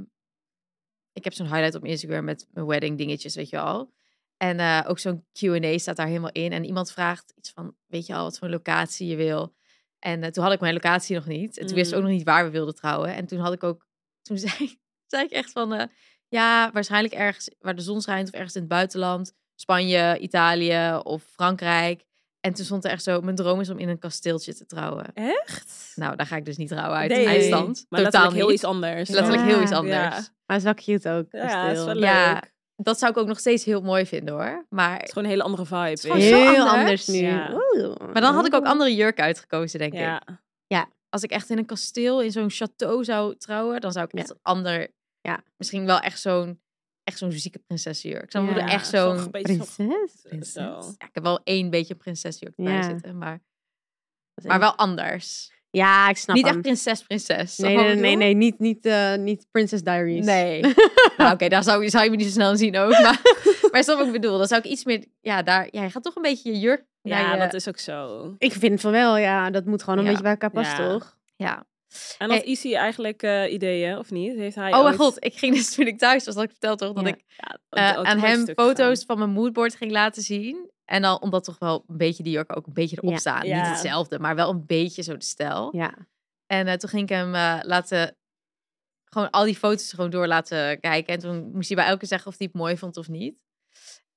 C: ik heb zo'n highlight op Instagram met mijn wedding dingetjes, weet je al. En eh, ook zo'n Q&A staat daar helemaal in. En iemand vraagt iets van, weet je al, wat voor een locatie je wil. En eh, toen had ik mijn locatie nog niet. En toen wist ik
D: Mm.
C: ook nog niet waar we wilden trouwen. En toen had ik ook, toen zei, zei ik echt van, eh, ja, waarschijnlijk ergens waar de zon schijnt of ergens in het buitenland. Spanje, Italië of Frankrijk. En toen stond er echt zo, mijn droom is om in een kasteeltje te trouwen.
D: Echt?
C: Nou, daar ga ik dus niet trouwen uit
D: Nee.
C: IJsland.
D: Maar
C: Totaal
D: letterlijk
C: niet.
D: heel iets anders.
C: Letterlijk
E: Ja.
C: heel iets anders.
D: Ja.
E: Maar het is wel cute ook.
D: Ja,
E: kasteel.
D: is wel leuk.
C: Ja.
D: Het
C: Dat zou ik ook nog steeds heel mooi vinden hoor. Maar
D: is gewoon een hele andere vibe.
C: is gewoon
D: weet je.
C: Oh, zo
E: Heel
C: anders.
E: anders, nu.
D: Ja.
E: Oeh.
C: Maar dan had ik ook andere jurken uitgekozen, denk ik.
D: Ja.
C: Als ik echt in een kasteel, in zo'n château zou trouwen, dan zou ik
E: Ja.
C: echt een ander...
E: Ja.
C: Misschien wel echt zo'n echt zo'n zieke prinsessenjurk. Dan
E: Ja.
C: worden echt
D: zo'n
C: zo'n...
D: beetje zo'n-
E: Prinses?
D: Zo.
E: Prinses?
C: Ja, ik heb wel één beetje een prinsessenjurk bij
E: Ja.
C: zitten, maar,
E: Dat is
C: maar wel
E: echt-
C: anders.
E: Ja, ik snap
C: Niet
E: hem.
C: echt prinses, prinses. Snap
E: Nee,
C: je wat
E: nee,
C: ik
E: nee,
C: bedoel?
E: nee, niet, niet, eh, niet Princess Diaries.
C: Nee. nou, oké, daar zou, zou je me niet zo snel zien ook. Maar, maar snap wat ik bedoel? Dan zou ik iets meer... Ja, daar, ja, je gaat toch een beetje je jurk naar
D: Ja,
C: je-
D: dat is ook zo.
E: Ik vind van wel, ja. Dat moet gewoon een
C: Ja.
E: beetje bij elkaar passen,
D: Ja.
E: toch?
C: ja.
D: En had
C: Eh,
D: Isi eigenlijk eh, ideeën, of niet? Heeft hij
C: Oh mijn
D: ooit-
C: god, ik ging dus toen ik thuis was, had ik verteld toch, dat
E: Ja.
C: ik
D: Ja,
C: eh,
D: ook
C: aan
D: een
C: hem
D: stuk
C: foto's van mijn moodboard ging laten zien. En dan omdat toch wel een beetje die jurken ook een beetje erop
E: Ja.
C: staan.
D: Ja.
C: Niet hetzelfde, maar wel een beetje zo de stijl.
E: Ja.
C: En eh, toen ging ik hem eh, laten, gewoon al die foto's gewoon door laten kijken. En toen moest hij bij elke zeggen of hij het mooi vond of niet.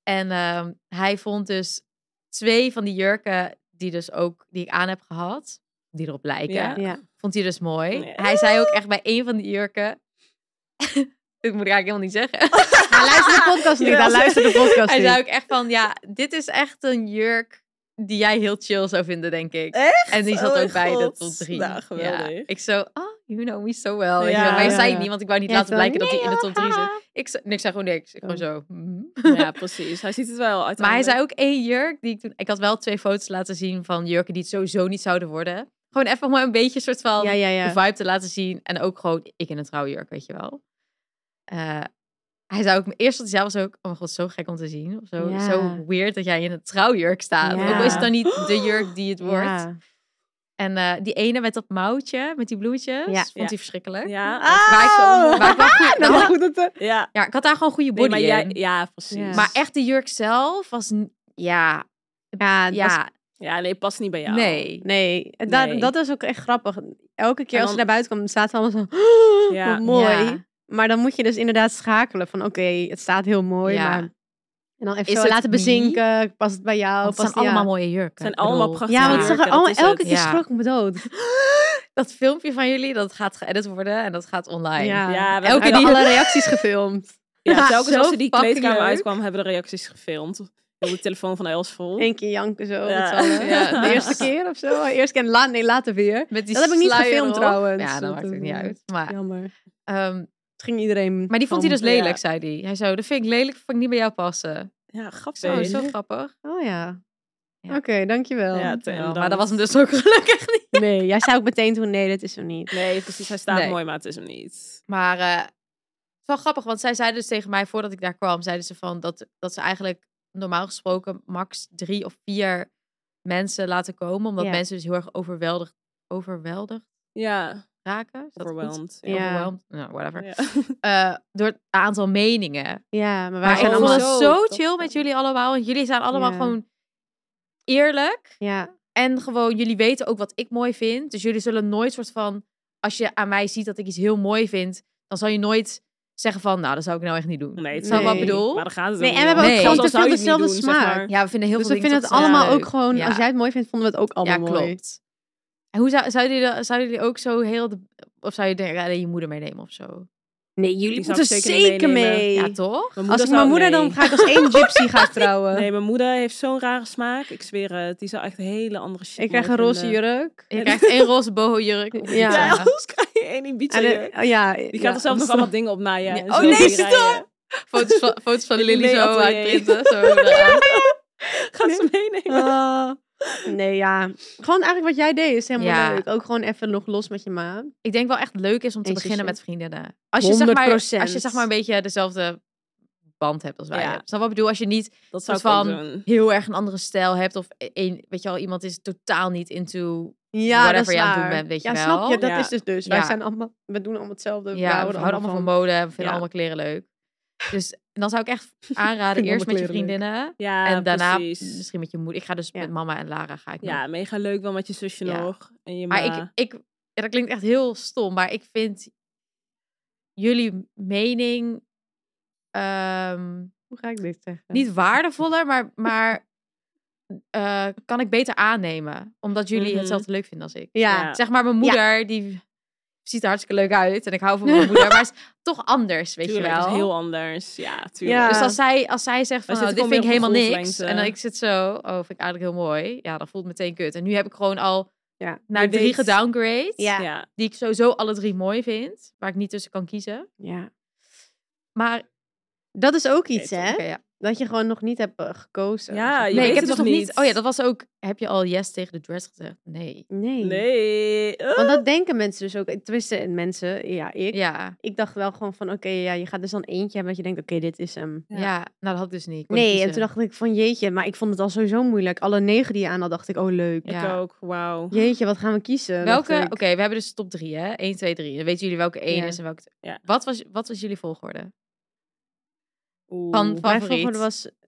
C: En ehm, hij vond dus twee van die jurken die dus ook, die ik aan heb gehad, die erop lijken,
D: Ja.
E: ja.
C: vond hij dus mooi.
D: Nee.
C: Hij zei ook echt bij één van die jurken, dit moet ik eigenlijk helemaal niet zeggen.
E: Hij luistert de podcast niet.
D: Jawel,
E: Hij luistert de podcast
C: hij
E: niet.
C: zei ook echt van, ja, dit is echt een jurk die jij heel chill zou vinden, denk ik.
D: Echt?
C: En die zat
D: Oh
C: ook bij
D: mijn
C: de
D: god.
C: top drie.
D: Nou, geweldig.
C: Ja. Ik zo, oh, you know me so well. weet je
D: Ja,
C: wel. maar hij
D: ja,
C: zei het
E: ja.
C: niet, want ik wou niet
E: Jij
C: laten
E: zo,
C: blijken dat hij in de top drie
E: nee,
C: zit. Ik, zei- nee, ik zei gewoon niks. Ik gewoon zo. mm.
D: Oh. Ja, precies. Hij ziet het wel
C: Maar hij
D: uiteindelijk.
C: zei ook één jurk die ik toen... Ik had wel twee foto's laten zien van jurken die het sowieso niet zouden worden. Gewoon even om een beetje een soort van
E: Ja, ja, ja.
C: de vibe te laten zien. En ook gewoon ik in een trouwjurk, weet je wel. Eh, hij zei ook, eerst wat hij zei was ook, oh mijn god, zo gek om te zien. Of zo,
E: Ja.
C: zo weird dat jij in een trouwjurk staat.
E: Ja.
C: Ook al is het dan niet de jurk die het wordt.
E: Ja.
C: En eh, die ene met dat mouwtje, met die bloemetjes,
E: Ja. Nou.
C: vond
D: Ja.
C: hij verschrikkelijk.
D: Ja,
C: Waar ik
D: Oh!
C: zo- waar ik wel goed- daar had-
E: goed dat de...
D: ja.
C: ja, ik had daar gewoon goede
D: Nee,
C: body
D: maar jij,
C: in.
D: ja, precies.
E: Ja.
C: Maar echt de jurk zelf was... n- Ja,
E: Ja, het was-
C: ja,
D: Ja, nee, past niet bij jou.
C: nee.
E: nee. Dat,
D: Nee.
E: dat is ook echt grappig. Elke keer
D: En
E: als
D: dan-
E: ze naar buiten kwam, staat ze allemaal zo... "Oh,
D: Ja.
E: Wat mooi.
C: Ja.
E: Maar dan moet je dus inderdaad schakelen van... Oké, het staat heel mooi,
C: Ja.
E: maar... En dan even
C: Is
E: zo
C: het
E: laten
C: wie?
E: bezinken. Past het bij jou?
C: Want Oh, het
E: Past
C: zijn allemaal
E: ja.
C: mooie jurken.
D: zijn
C: Ik
D: allemaal
C: bedoel,
D: prachtige
E: Ja, want het
D: jurken,
E: zag er
D: dat
E: allemaal
D: is
E: elke
D: het.
E: keer
C: Ja.
E: schrok me dood.
C: Dat filmpje van jullie, dat gaat geëdit worden en dat gaat online.
D: Ja, we
E: elke
C: hebben
E: keer
C: die-
E: alle reacties gefilmd.
D: Ja,
C: Ja,
D: telkens
C: zo
D: als ze die
C: fucking
D: kleedkamer
C: leuk.
D: uitkwam, hebben de reacties gefilmd. Heel de telefoon van Els vol.
E: Eén keer janken zo.
D: Ja.
E: met z'n allen.
D: Ja.
E: De eerste keer of zo. Eerst keer, en la, nee, later weer.
C: Met die
E: Dat heb ik niet
C: sluier
E: gefilmd
C: op.
E: trouwens.
C: Ja, dat
E: Dat,
C: maakt het
E: eh,
C: niet uit. Maar,
E: Jammer. Het
C: ehm,
E: ging iedereen.
C: maar die vond hij
E: van,
C: dus lelijk,
E: ja.
C: zei hij. Hij zo, dat vind ik lelijk, dat vind ik niet bij jou passen.
D: Ja,
C: Ik zo,
D: grappig.
C: zo grappig.
E: Oh ja.
C: Ja.
E: Oké, dankjewel.
D: Ja,
C: Ja,
D: en
C: maar
D: dan-
C: dat was hem dus ook gelukkig niet.
E: Nee, jij zei ook meteen toen, nee, dit is zo niet.
D: Nee, precies. Hij staat
C: Nee.
D: mooi, maar het is hem niet.
C: Maar eh, het is wel grappig, want zij zeiden dus tegen mij voordat ik daar kwam, zeiden ze van dat, dat ze eigenlijk normaal gesproken max drie of vier mensen laten komen, omdat
E: Ja.
C: mensen dus heel erg overweldigd, overweldigd
D: Ja,
C: raken. Is dat goed?
D: overwhelmed.
E: Ja.
C: Overweldigd? Nou, whatever.
D: Ja.
C: Eh, door het aantal meningen.
E: Ja, maar wij
C: Maar
E: zijn
C: ik vond
E: allemaal
C: het
D: zo
C: zo
D: tof,
C: chill
D: hè?
C: met jullie allemaal. Want jullie zijn allemaal
E: Ja.
C: gewoon eerlijk.
E: Ja,
C: En gewoon, jullie weten ook wat ik mooi vind. Dus jullie zullen nooit soort van... Als je aan mij ziet dat ik iets heel mooi vind... dan zal je nooit zeggen van... Nou, dat zou ik nou echt niet doen.
D: Nee,
C: Snap je wat ik
E: nee.
C: bedoel?
D: Maar daar gaat het
E: Nee,
D: ook
E: en
D: niet
E: we hebben
D: om.
C: ook
D: Zelfs al
E: gewoon te
D: zou je
E: veel
D: het niet
E: dezelfde
D: doen, zeg
E: smaak.
D: maar.
C: Ja, we vinden heel
E: dus
C: veel
E: we
C: dingen
E: vinden het
C: toch zelf
E: allemaal
C: leuk.
E: ook gewoon,
C: Ja.
E: als jij het mooi vindt, vonden we het ook allemaal
C: Ja,
E: mooi.
C: klopt. En hoe zou, zouden, jullie, dat- zouden jullie ook zo heel... De, of zou je denken, ja, nee, je moeder meenemen of zo?
E: Nee, jullie
D: Die zou
E: moeten
D: ik
E: zeker,
D: zeker niet meenemen.
E: mee.
C: Ja, toch?
E: als ik
D: zou-
E: mijn moeder,
D: nee.
E: dan ga ik als één gypsy gaan trouwen.
D: Nee, mijn moeder heeft zo'n rare smaak. Ik zweer het. Die zou echt hele andere shit
E: ik krijg een
D: mooi
E: roze
D: vinden.
E: jurk.
C: Je krijgt één roze boho jurk. eh,
E: Ja.
D: Ja,
C: Ja.
D: anders krijg je één Ibiza
E: En,
D: jurk.
E: eh, ja,
D: Die
E: ja,
D: gaat er zelf nog
E: anders-
D: allemaal dingen op na ja.
C: Ja. Oh, nee,
D: stop!
C: Foto's van, foto's van
D: In
C: Lily
D: een
C: zo
D: atelier.
C: uitprinten. Zo eh. eraan.
D: Gaat ze meenemen.
E: Ah. nee, ja. Gewoon eigenlijk wat jij deed is helemaal
C: Ja.
E: leuk. Ook gewoon even nog los met je ma.
C: ik denk wel echt leuk is om te
E: Eens
C: beginnen
E: zusje.
C: met vriendinnen. Als je, zeg maar, als
E: 100%.
C: je zeg maar een beetje dezelfde band hebt als wij.
D: Ja.
C: hebben. Snap je wat ik bedoel? Als je niet
D: Dat zou ik
C: Soort
D: van...
C: van-
D: doen.
C: heel erg een andere stijl hebt of e-, een, weet je wel, iemand is totaal niet into.
E: Ja, dat
C: Whatever
E: is
C: je aan het
E: waar.
C: doen bent, weet je
E: ja,
C: wel.
E: Snap je? Dat
D: Ja.
E: is dus dus.
C: Ja.
E: Wij zijn allemaal, we doen allemaal hetzelfde. we
C: ja, we houden allemaal van mode, we vinden
D: Ja.
C: allemaal kleren leuk. Dus en dan zou ik echt aanraden
E: Vind
C: eerst met je
E: allemaal kleren leuk.
C: vriendinnen
D: Ja,
C: en daarna
D: precies.
C: misschien met je moeder. Ik ga dus
E: Ja.
C: met mama en Lara ga ik. mee.
D: Ja, mega leuk wel met je zusje
C: Ja.
D: nog. En je
C: Maar
D: ma.
C: ik, ik, ja, dat klinkt echt heel stom, maar ik vind jullie mening ehm,
E: Hoe ga ik dit zeggen?
C: niet waardevoller, maar, maar eh, kan ik beter aannemen. Omdat jullie
D: Mhm.
C: hetzelfde leuk vinden als ik.
E: Ja.
D: Ja.
C: Zeg maar, mijn moeder, die ziet er hartstikke leuk uit. En ik hou van mijn moeder, maar is toch anders, weet
D: Tuurlijk,
C: je
D: dat
C: wel.
D: is heel anders. Ja,
E: Ja.
D: tuurlijk.
C: Dus als zij, als zij zegt van,
D: Wij
C: oh, dit
D: zitten
C: vind ik
D: gewoon
C: helemaal
D: weer op
C: niks. En dan
D: golflengte.
C: ik zit zo, oh, vind ik eigenlijk heel mooi. Ja, dan voelt het meteen kut. En nu heb ik gewoon al
E: Ja.
C: naar
D: Je
C: Nou, drie
D: weet-
C: gedowngrade.
E: Ja.
D: Ja.
C: Die ik sowieso alle drie mooi vind. Waar ik niet tussen kan kiezen.
E: Ja.
C: Maar
E: Dat is ook iets,
D: Oké,
E: hè?
C: oké, ja.
E: Dat je gewoon nog niet hebt eh, gekozen.
D: Ja,
C: nee,
D: je
C: ik
D: weet
C: heb
D: het
C: dus
D: nog
C: nog niet...
D: niet.
C: Oh ja, dat was ook... Heb je al yes tegen de dress gezegd? Nee.
E: Nee.
D: Nee. Eh,
E: Want dat denken mensen dus ook. Tenminste, mensen, ja, ik.
C: Ja.
E: Ik dacht wel gewoon van, oké, ja, je gaat dus dan eentje hebben dat je denkt, oké, dit is hem.
D: Ja.
C: Ja. nou dat had ik dus niet. Ik kon niet
E: Nee, en
C: kiezen.
E: toen dacht ik van, jeetje, maar ik vond het al sowieso moeilijk. Alle negen die je aan had, dacht ik, oh, leuk.
D: Ik
C: Ja.
D: ook. Wauw.
E: Jeetje, wat gaan we kiezen? dacht
C: Welke...
E: ik.
C: Oké, we hebben dus top drie, hè? 1, 2, 3. Dan weten jullie welke één
E: Ja.
C: is en welke...
D: Ja.
C: Wat, was, wat was jullie volgorde?
D: Oeh.
C: Van- van-
E: Mijn
C: favoriet?
E: volgorde was...
C: Gewoon,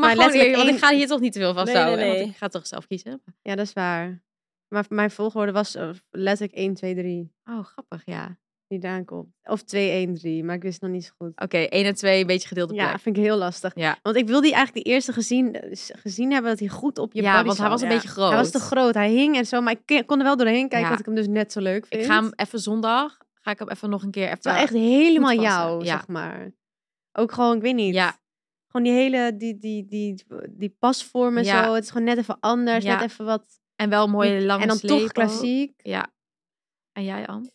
C: maar
E: mij
C: gewoon
E: letterlijk
C: eerlijk, want
E: één-
C: ik ga hier toch niet te veel van
D: Nee,
C: houden.
D: nee, nee.
C: Want ik ga toch zelf kiezen.
E: Ja, dat is waar. Maar mijn volgorde was eh, letterlijk 1, 2, 3.
C: Oh, grappig, ja.
E: Die daar komt. Of 2, 1, 3. Maar ik wist nog niet zo goed.
C: Oké, 1 en 2, een beetje gedeelde plek.
E: Ja, vind ik heel lastig.
C: Ja.
E: Want ik wil die eigenlijk de eerste gezien, dus gezien hebben dat hij goed op je
C: ja,
E: body
C: want hij
E: zat.
C: was een
D: ja.
C: beetje groot.
E: Hij was te groot. Hij hing en zo. Maar ik ke- kon er wel doorheen kijken
C: Ja.
E: dat ik hem dus net zo leuk vind.
C: Ik ga hem even zondag... Ga ik hem even nog een keer... Even,
E: Het is wel echt helemaal
C: goed passen,
E: jou,
C: ja.
E: zeg maar. Ook gewoon, ik weet niet.
C: Ja.
E: Gewoon die hele, die, die, die, die pasvormen
C: Ja.
E: zo. Het is gewoon net even anders.
C: Ja.
E: Net even wat.
C: En wel een mooie lange
E: En dan
C: sleep
E: toch
C: ook.
E: klassiek.
C: Ja. En jij, Anne?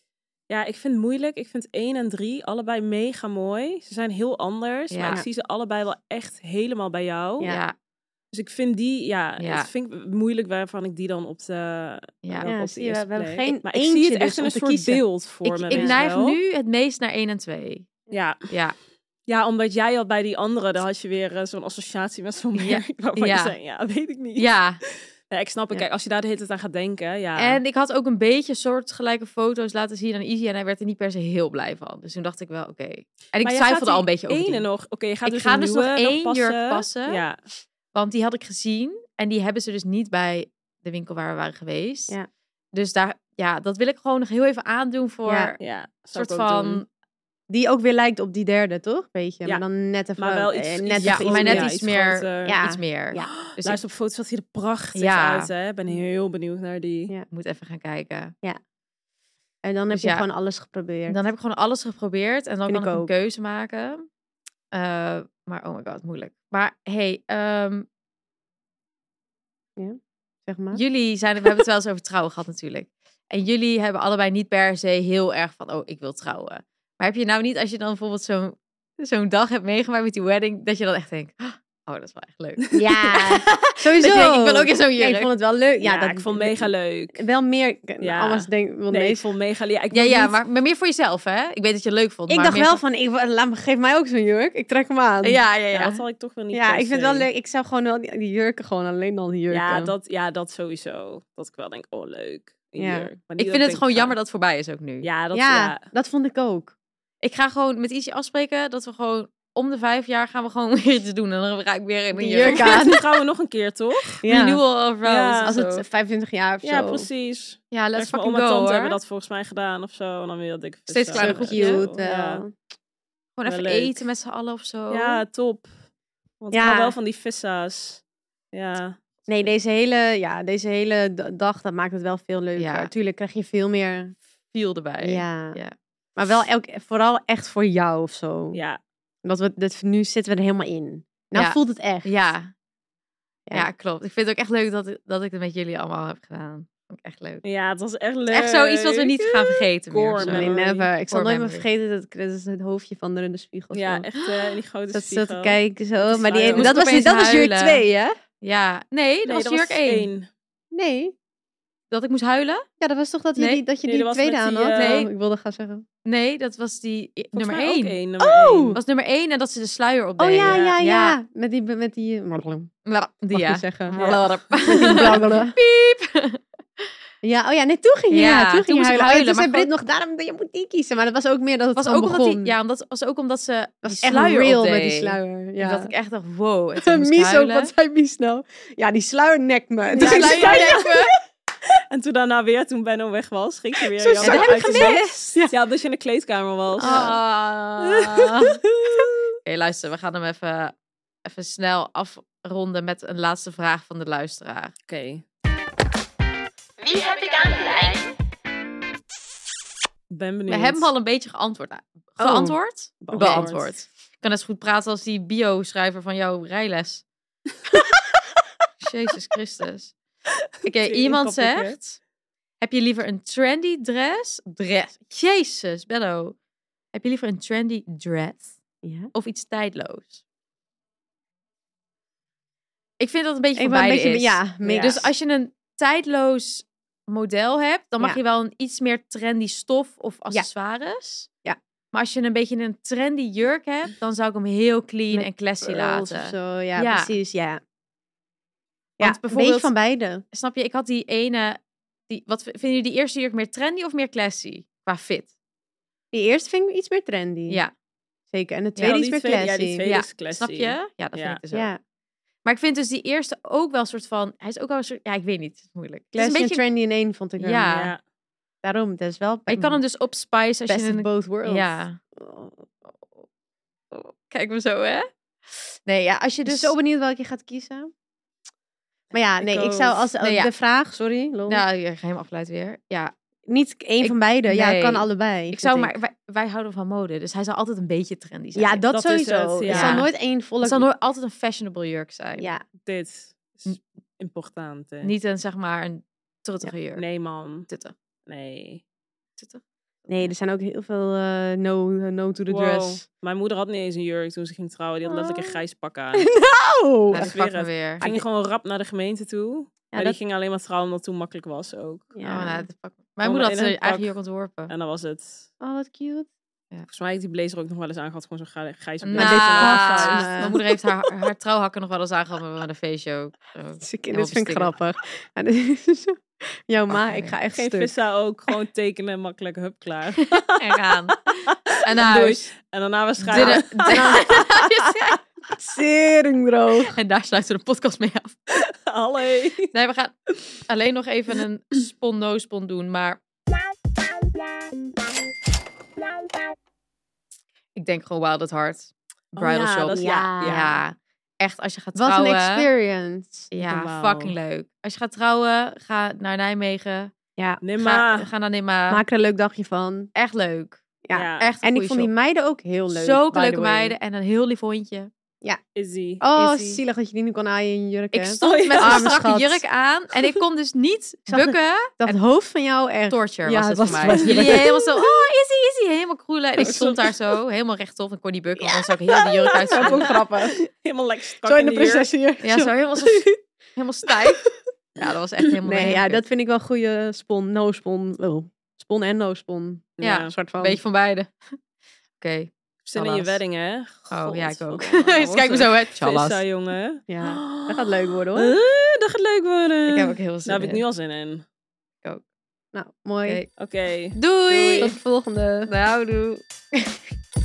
D: Ja, ik vind het moeilijk. Ik vind 1 en 3 allebei mega mooi. Ze zijn heel anders,
C: Ja.
D: maar ik zie ze allebei wel echt helemaal bij jou.
E: Ja.
D: Dus ik vind die, ja,
C: Ja.
D: het vind ik moeilijk waarvan ik die dan op de,
C: ja.
E: Ja,
D: op de
E: zie je,
D: eerste
E: we hebben
D: plek.
E: geen
D: Maar ik zie
E: eentje
D: het echt in
E: dus om
D: een
E: te
D: soort
E: kiezen.
D: beeld voor
C: ik,
D: me.
C: ik
D: weet
C: neig
D: je wel.
C: nu het meest naar 1 en 2.
D: Ja.
C: Ja,
D: ja, omdat jij al bij die andere, daar had je weer eh, zo'n associatie met zo'n
C: Ja.
D: merk waarvan je
C: Ja.
D: zei, ja, weet ik niet.
C: ja.
D: Nee, ik snap het.
E: Ja.
D: Kijk, als je daar de hele tijd aan gaat denken, ja.
C: en ik had ook een beetje soortgelijke foto's laten zien aan Izzy en hij werd er niet per se heel blij van. Dus toen dacht ik wel, oké. En ik
D: Maar jij gaat
C: twijfelde al een
D: die
C: beetje over
D: ene
C: die,
D: nog. Oké, je gaat
C: Ik
D: dus
C: ga
D: een
C: dus
D: nieuwe
C: nog één
D: passen.
C: jurk passen.
D: Ja.
C: want die had ik gezien en die hebben ze dus niet bij de winkel waar we waren geweest.
E: Ja.
C: Dus daar, ja, dat wil ik gewoon nog heel even aandoen voor
E: Ja.
C: een
D: Ja, zou
C: soort
D: ik ook
C: van
D: doen.
E: Die ook weer lijkt op die derde, toch? Beetje.
D: Ja.
E: Maar dan net even...
D: Maar wel iets-
E: eh,
D: iets-
E: net
D: Ja,
E: even
C: ja, maar net
D: ja,
C: iets
D: iets
C: meer.
D: groter.
E: Ja.
C: Iets meer.
E: Ja.
C: Dus
D: Luister, op foto's zat hij er prachtig
C: Ja.
D: uit, hè? Ik ben heel benieuwd naar die.
E: Ja.
C: ik moet even gaan kijken.
E: En dan heb
C: Dus
E: je
C: ja.
E: gewoon alles geprobeerd.
C: Dan heb ik gewoon alles geprobeerd en dan
E: Vind
C: kan ik,
E: ik
C: een
E: ook.
C: keuze maken. Eh, maar oh my god, moeilijk. Maar hey, ehm,
E: Zeg
D: Mhm.
E: maar.
C: jullie zijn, we hebben het wel eens over trouwen gehad natuurlijk. En jullie hebben allebei niet per se heel erg van, oh, ik wil trouwen. Maar heb je nou niet, als je dan bijvoorbeeld zo'n zo'n dag hebt meegemaakt met die wedding, dat je dan echt denkt, oh, dat is wel echt leuk.
E: Ja, sowieso.
C: Dat je denkt, ik wil ook in zo'n
E: Nee, ik
C: jurk.
E: vond het wel leuk. Ja,
D: Ja,
E: dat,
D: ik vond mega leuk.
E: Wel meer...
D: Ja.
E: Anders denk want
D: Nee, ik
E: meestal-
D: vond mega leuk. Ja, ik
C: Ja,
D: ben
C: ja,
D: niet-
C: maar, maar meer voor jezelf, hè? Ik weet dat je het leuk vond.
E: Ik
C: maar
E: dacht
C: meer
E: wel van, ik, wil- laat me, geef mij ook zo'n jurk. Ik trek hem aan.
C: Ja, ja, ja.
D: Ja, dat zal ik toch wel niet
E: Ja,
D: per
E: ik vind het wel
D: se.
E: leuk. Ik zou gewoon wel die, die jurken gewoon alleen al die jurken.
D: Ja dat, ja, dat sowieso. Dat ik wel denk, oh leuk. een
E: Ja.
D: jurk.
C: Ik
D: Maar niet dat
C: vind het
D: denk,
C: gewoon
D: ah,
C: jammer dat het voorbij is ook nu.
D: Ja, dat...
E: ja,
D: ja.
E: dat vond ik ook.
C: Ik ga gewoon met Izzy afspreken dat we gewoon om de vijf jaar gaan we gewoon weer iets doen. En dan raak ik weer in een
E: Die
C: jurk.
E: jurk
D: Ja,
E: aan.
D: toen trouwen nog een keer, toch?
E: Ja.
C: Renewal of Rose.
D: Ja.
C: of
E: Als
C: zo.
E: het 25 jaar of zo.
D: Ja, precies.
C: ja, let's
D: Echt, mijn
C: fucking
D: oma en
C: go
D: tante
C: hoor.
D: hebben dat volgens mij gedaan of zo. En dan weer dat ik...
C: Steeds
E: Zo
C: kleiner
E: cute. eh.
C: groepje.
E: wel.
D: Ja.
C: Gewoon
D: Wel
C: even
D: leuk.
C: eten met z'n allen of zo.
D: Ja, top. Want
E: Ja.
D: ik hou wel van die vissa's. Ja.
E: Nee, deze hele, ja, deze hele d- dag, dat maakt het wel veel leuker.
C: Ja.
E: Tuurlijk krijg je veel meer.
C: Viel erbij.
E: Ja.
C: ja.
E: Maar wel elk, vooral echt voor jou of zo.
D: Ja.
E: Dat we, dat, nu zitten we er helemaal in. Nou
C: Ja.
E: voelt het echt.
C: Ja.
E: Ja.
C: Ja, klopt. Ik vind het ook echt leuk dat, dat ik het met jullie allemaal heb gedaan. Vond ik echt leuk.
D: Ja, het was echt
C: Het
D: leuk.
C: is echt zoiets wat we niet gaan vergeten meer. of
D: Core
C: zo.
E: Nee,
D: memory.
E: never. Ik zal
C: Core
E: nooit
C: memory.
E: meer vergeten dat, dat is het hoofdje van de in de spiegel.
D: Ja,
E: zo.
D: echt eh, in die grote
E: Dat ze
D: spiegel.
E: te kijken zo.
D: is
E: Maar
D: waar,
E: die,
D: joh.
E: dat,
C: Moest
E: was,
C: opeens
E: dat was jurk
C: huilen.
E: 2, hè?
C: Ja. Nee, dat
D: Nee,
C: was
D: dat
C: jurk
D: was
C: 1.
D: één.
E: Nee.
C: Dat ik moest huilen?
E: Ja, dat was toch dat je
C: Nee.
E: die, dat je
D: Nee,
E: die
D: dat was
E: tweede
D: met
E: aan
D: die,
E: had?
D: eh,
E: Oh, ik wilde gaan zeggen.
C: Nee, dat was die
D: Volgens
C: nummer
D: mij ook
C: 1.
D: één, nummer
E: Oh!
D: één.
C: was nummer 1 en dat ze de sluier op
E: Oh
C: deden.
E: ja, ja, ja.
C: Ja.
E: Met die... Met die eh, Mag
C: Ja. Die
E: je
C: ja.
E: zeggen.
D: Ja.
E: Met die
C: Ja.
E: blabbelen.
C: Piep.
E: Ja, oh ja, nee, toen ging je, ja,
C: Ja,
E: toen
C: toen
E: ging je
C: moest ik
E: huilen. Oh ja,
C: huilen,
E: toen
C: maar
E: zei Brit nog, daarom, je moet die kiezen. Maar dat was ook meer dat het
C: Was
E: gewoon
C: ook omdat
E: begon.
C: die, ja, omdat, was ook omdat ze
E: dat
C: die
E: was echt
C: sluier
E: real
C: opdeed.
E: met die sluier. Ja.
C: Dat ik echt dacht, wow. En toen moest ik
E: Mies ook,
C: huilen.
E: wat zei Mies nou? Ja, die sluier nekt me. En toen
D: Ja,
E: zei
D: sluier
E: ze, "Kijk,
D: nekt En toen daarna weer, toen Benno weg was, ging ze weer.
E: Zo
D: Jan
E: zei-
D: uit
E: heb ik
D: de
E: gemist.
D: zak. Ja, omdat je in de kleedkamer was.
C: Oh. Ah. Oké, luister. We gaan hem even, even snel afronden met een laatste vraag van de luisteraar.
D: Oké.
A: Wie heb ik aan de lijn?
D: Ben
C: We
D: benieuwd. Oh,
C: hebben hem al een beetje geantwoord. Geantwoord?
D: Beantwoord.
C: Beantwoord. Ik kan net zo goed praten als die bio-schrijver van jouw rijles. Jezus Christus. Oké,
D: Tering
C: iemand
D: topic, hè?
C: zegt... Heb je liever een trendy dress? Dress. Jezus, Bello. Heb je liever een trendy dress?
E: Ja.
C: Of iets tijdloos? Ik vind dat een beetje
E: Ik
C: van
E: ben een
C: beide
E: beetje,
C: is.
E: ja, mix.
D: Ja.
C: Dus als je een tijdloos model hebt, dan mag
E: Ja.
C: je wel een iets meer trendy stof of accessoires.
E: Ja.
C: Maar als je een beetje een trendy jurk hebt, dan zou ik hem heel clean
E: Met
C: en classy
E: Pearls
C: laten.
E: of zo, ja,
C: Ja.
E: precies, ja. Ja,
C: Want
E: een beetje
C: bijvoorbeeld-
E: van beide.
C: Snap je? Ik had die ene. Die, wat v- vinden jullie die eerste jurk meer trendy of meer classy? Qua fit.
E: Die eerste vind ik iets meer trendy.
C: Ja.
E: Zeker. En de
D: Ja,
E: tweede iets
D: die
E: meer
D: tweede-
E: classy.
D: Ja, die tweede
C: Ja,
D: is classy.
C: Snap je? Ja, dat
D: Ja.
C: vind ik dus ook.
E: Ja,
C: Maar ik vind dus die eerste ook wel een soort van. Hij is ook wel een soort. Ja, ik weet niet. Het is moeilijk. Het is
E: classy
C: een
E: en
C: beetje.
E: trendy in één vond ik hem.
C: Ja.
D: Ja.
E: Daarom, dat is wel...
C: Maar je kan hem dus opspice als
E: Mm. Best
C: je
E: of
C: een.
E: both worlds.
C: Ja. Kijk me zo, hè? Nee, ja, als je
E: Dus
C: dus.
E: zo benieuwd welke je gaat kiezen. Maar ja,
D: Ik
E: nee, ik
D: ook.
E: zou als
C: Nee, ja.
E: de vraag, sorry, lol,
C: Nou, ja, ik ga hem afleid weer. Ja,
E: niet één
C: Ik-
E: van beide. Ja, het kan
C: nee.
E: allebei.
C: Ik zou
E: vind
C: maar, wij, wij houden van mode, dus hij zal altijd een beetje trendy zijn.
E: Ja, dat,
D: Dat is
E: sowieso.
D: het,
E: Het,
D: ja.
E: zal nooit één volle.
C: het zal nooit altijd een fashionable jurk zijn.
E: Ja,
D: Dit is important. hè.
C: Niet een zeg maar een truttige jurk.
D: Nee, man.
C: Tutte.
D: Nee.
C: Tutte.
E: nee, er zijn ook heel veel eh, no, no to the
D: Wow.
E: dress.
D: Mijn moeder had niet eens een jurk toen ze ging trouwen. Die had letterlijk een
E: Oh.
D: grijs pak aan.
E: Nou!
C: Ja,
D: dat
C: dat pak
D: weer
C: me
D: het-
C: weer.
D: Ging gewoon rap naar de gemeente toe.
E: Ja,
D: maar
E: dat-
D: die ging alleen maar trouwen omdat het toen makkelijk was ook.
E: Ja.
C: Oh, nou, dat pak me. Mijn moeder
D: Gewoon in
C: had
D: een
C: zijn eigen
D: pak.
C: jurk ontworpen.
D: En dan was het.
E: Oh, wat cute.
D: Volgens mij heeft die blazer ook nog wel eens aangehad. Gewoon zo'n grij- grijze
C: Nou, Dus
E: dit is wel
D: blazer.
E: gaaf.
C: mijn moeder heeft haar, haar trouwhakken nog wel eens aangehad met een feestje ook. Zo.
E: Dus ik-
C: Helemaal
E: Dit vind
C: verstikkerd.
E: ik grappig. Ja, dit is zo- Jouw ma,
C: Ach,
E: ik ga echt
D: Geen
E: stuk.
D: vissa ook. Gewoon tekenen, makkelijk, hup, klaar.
C: En gaan. En naar huis.
D: En daarna waarschijnlijk.
C: Dinner- dinner-
E: Sering droog.
C: en daar sluiten we de podcast mee af.
D: Allee.
C: Nee, we gaan alleen nog even een spon-no-spon doen, maar... ik denk gewoon Wild at Heart.
D: Oh
C: Bridal
D: ja,
C: Shop.
D: dat is-
E: ja.
C: ja. echt als je gaat
E: Wat
C: trouwen.
E: een experience.
C: Ja,
D: Wauw.
C: fucking leuk. Als je gaat trouwen, ga naar Nijmegen.
E: Ja,
D: Nee, maar...
C: Ga, ga naar Nimma.
E: maak er een leuk dagje van.
C: Echt leuk.
E: Ja,
D: Ja.
C: Echt een
E: En ik
C: goeie
E: vond die
C: shop.
E: meiden ook heel leuk. by
C: Zulke
E: the
C: leuke
E: way.
C: meiden en een heel lief hondje.
D: Izzy.
E: Oh,
D: Izzy.
E: zielig dat je die nu kon aaien in je jurk.
C: Ik
E: hè?
C: stond
D: Oh ja.
C: met een
E: Arme
C: strakke
E: schat.
C: jurk aan en ik kon dus niet
E: zag het.
C: bukken.
E: Dat hoofd van jou echt.
C: Torture
E: Ja,
C: was het
E: het was-
C: voor mij.
E: was-
C: Jullie helemaal zo, oh, Izzy, Izzy, helemaal kroelen. En ik
D: Oh,
C: stond daar zo, helemaal rechtop en kon niet bukken, want dan zag ik heel de jurk uit.
E: Dat vond ik grappig.
D: Helemaal lekker strak
E: Zo in de
D: jurk.
E: prinsessenjurk.
C: Ja, zo helemaal, zo, helemaal stijf. Ja, dat was echt helemaal
E: Nee, ja,
C: lekker.
E: dat vind ik wel goede spon, no spon. Oh, spon en no spon.
C: Ja.
E: Een soort van.
C: Beetje van beide. Oké.
D: Zin in je
C: Helaas.
D: wedding, hè?
C: Oh, ja, ik ook.
D: Godverdomme,
C: Dus kijk me zo, hè. Tjallas.
D: Vissa, jongen.
E: Ja, dat gaat leuk worden hoor.
D: Eh, dat gaat leuk worden.
C: Ik heb ook heel zin
D: Daar heb ik
C: in.
D: nu al zin in.
E: Nou, mooi.
C: Oké.
D: Oké.
C: Doei!
E: Tot de volgende.
C: Nou, doei.